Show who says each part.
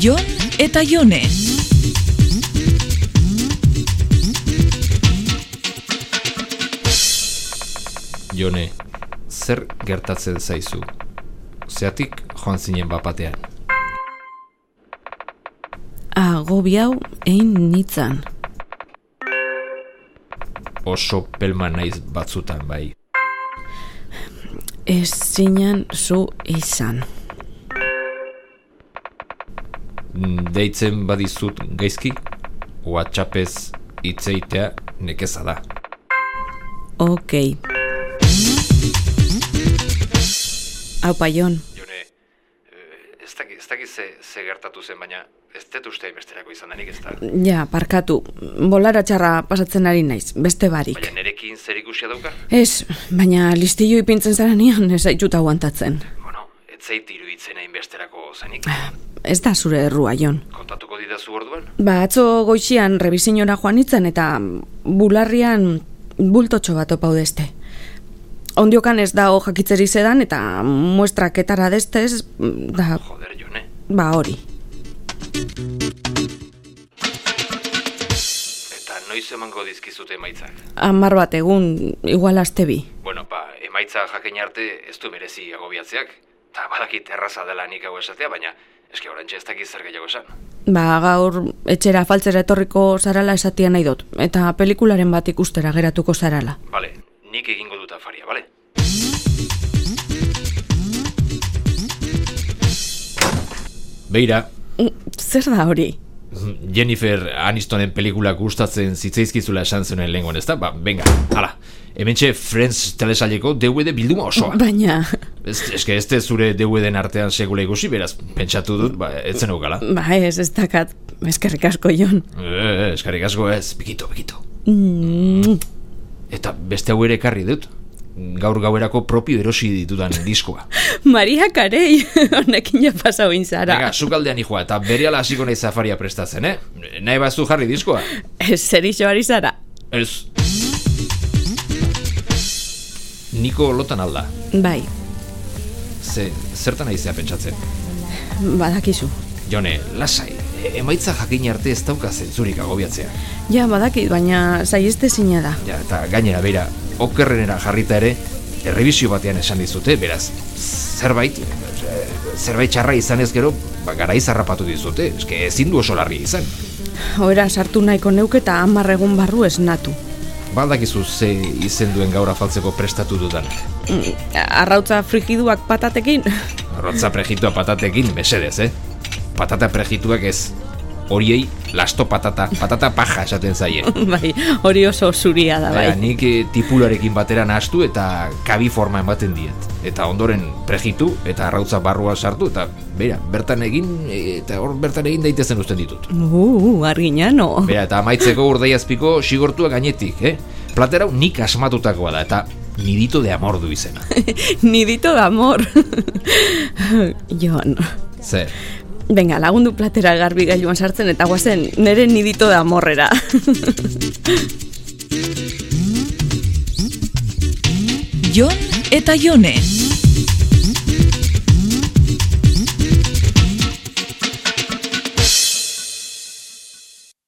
Speaker 1: Jon eta Jone.
Speaker 2: Jone, zer gertatzen zaizu? Zeatik joan zinen bapatean.
Speaker 3: Agobi hau egin nitzan.
Speaker 2: Oso pelma naiz batzutan bai.
Speaker 3: Ez zinan zu izan.
Speaker 2: Mm, Deitzen badizut gaizki, WhatsAppez hitzeitea nekeza da.
Speaker 3: Okei. Hau paion,
Speaker 2: Jone, eh, ez dakiz, ez dakiz ze, ze gertatu zen, baina ez dut uste besterako izan denik ez da.
Speaker 3: ja, parkatu, bolara txarra pasatzen ari naiz, beste barik.
Speaker 2: nerekin zer ikusia dauka?
Speaker 3: Ez, baina listillo ipintzen zara nian ez zaitut aguantatzen.
Speaker 2: Bueno, ez zait iruditzen hain besterako zenik.
Speaker 3: Ez da zure errua, Jon.
Speaker 2: Kontatuko didazu orduan?
Speaker 3: Ba, atzo goizian rebizinora joan nintzen eta bularrian bultotxo bat opaudeste. Ondiokan ez da jakitzerik zedan eta muestraketara destez, da,
Speaker 2: Joder, Jone.
Speaker 3: ba hori.
Speaker 2: Eta noiz emango dizkizute emaitzak?
Speaker 3: Amar bat egun, igual aste bi.
Speaker 2: Bueno, ba, emaitza jakin arte ez du merezi agobiatzeak. Ta badakit erraza dela nik hau esatea, baina eske oraintxe ez dakiz zer gehiago esan.
Speaker 3: Ba, gaur etxera faltzera etorriko zarala esatia nahi dut, eta pelikularen bat ikustera geratuko zarala.
Speaker 2: Bale, nik egingo dut afaria, bale? Beira,
Speaker 3: Mm, Zer da hori?
Speaker 2: Jennifer Anistonen pelikula gustatzen zitzaizkizula esan zuen lenguan, ezta? Ba, venga, hala. Hementxe Friends telesaileko DVD bilduma osoa.
Speaker 3: Baina,
Speaker 2: Ez, eske ez te zure DVDen artean segula ikusi, beraz, pentsatu dut, ba, etzen eukala.
Speaker 3: ba ez, ez dakat, eskerrik asko jon.
Speaker 2: Eh, eskarik asko ez, bikito, bikito.
Speaker 3: Mm,
Speaker 2: Eta beste hau ere ekarri dut. Gaur gauerako propio erosi ditudan diskoa.
Speaker 3: Maria Karei, honekin ja pasau inzara.
Speaker 2: Venga, sukaldean joa eta berehala hasiko naiz safaria prestatzen, eh? Nahi bazu jarri diskoa?
Speaker 3: Ez zer iso ari zara.
Speaker 2: Ez. Niko lotan alda.
Speaker 3: Bai,
Speaker 2: Ze, zertan aizea pentsatzen?
Speaker 3: badakizu.
Speaker 2: Jone, lasai, e- emaitza jakin arte ez dauka zentzurik agobiatzea.
Speaker 3: Ja, badakit, baina zaizte zina da.
Speaker 2: Ja, eta gainera, beira, okerrenera jarrita ere, errebisio batean esan dizute, beraz, zerbait, e, zerbait txarra izan ez gero, ba, garai zarrapatu dizute, eske ezin du oso larri izan.
Speaker 3: Oera sartu nahiko neuk eta hamar egun barru esnatu.
Speaker 2: Badakizu Ba, ze izen duen gaur afaltzeko prestatu dudan.
Speaker 3: Mm, Arrautza frigiduak patatekin,
Speaker 2: Rotza prejitua patatekin, mesedez, eh? Patata prejituak ez. Horiei, lasto patata, patata paja esaten zaie.
Speaker 3: bai, hori oso zuria da,
Speaker 2: Bai.
Speaker 3: bai.
Speaker 2: nik eh, tipularekin batera nahastu eta kabi forma ematen diet. Eta ondoren prejitu eta arrautza barrua sartu eta bera, bertan egin eh, eta hor bertan egin daitezen uzten ditut.
Speaker 3: Uh, argina, no.
Speaker 2: Bera, eta amaitzeko urdeiazpiko sigortua gainetik, eh? Platerau nik asmatutakoa da eta nidito de amor du izena.
Speaker 3: Nidito de amor. Jon.
Speaker 2: Zer,
Speaker 3: Venga, lagundu platera garbi gailuan sartzen eta guazen nere nidito de amorrera.
Speaker 1: Jon eta Jone.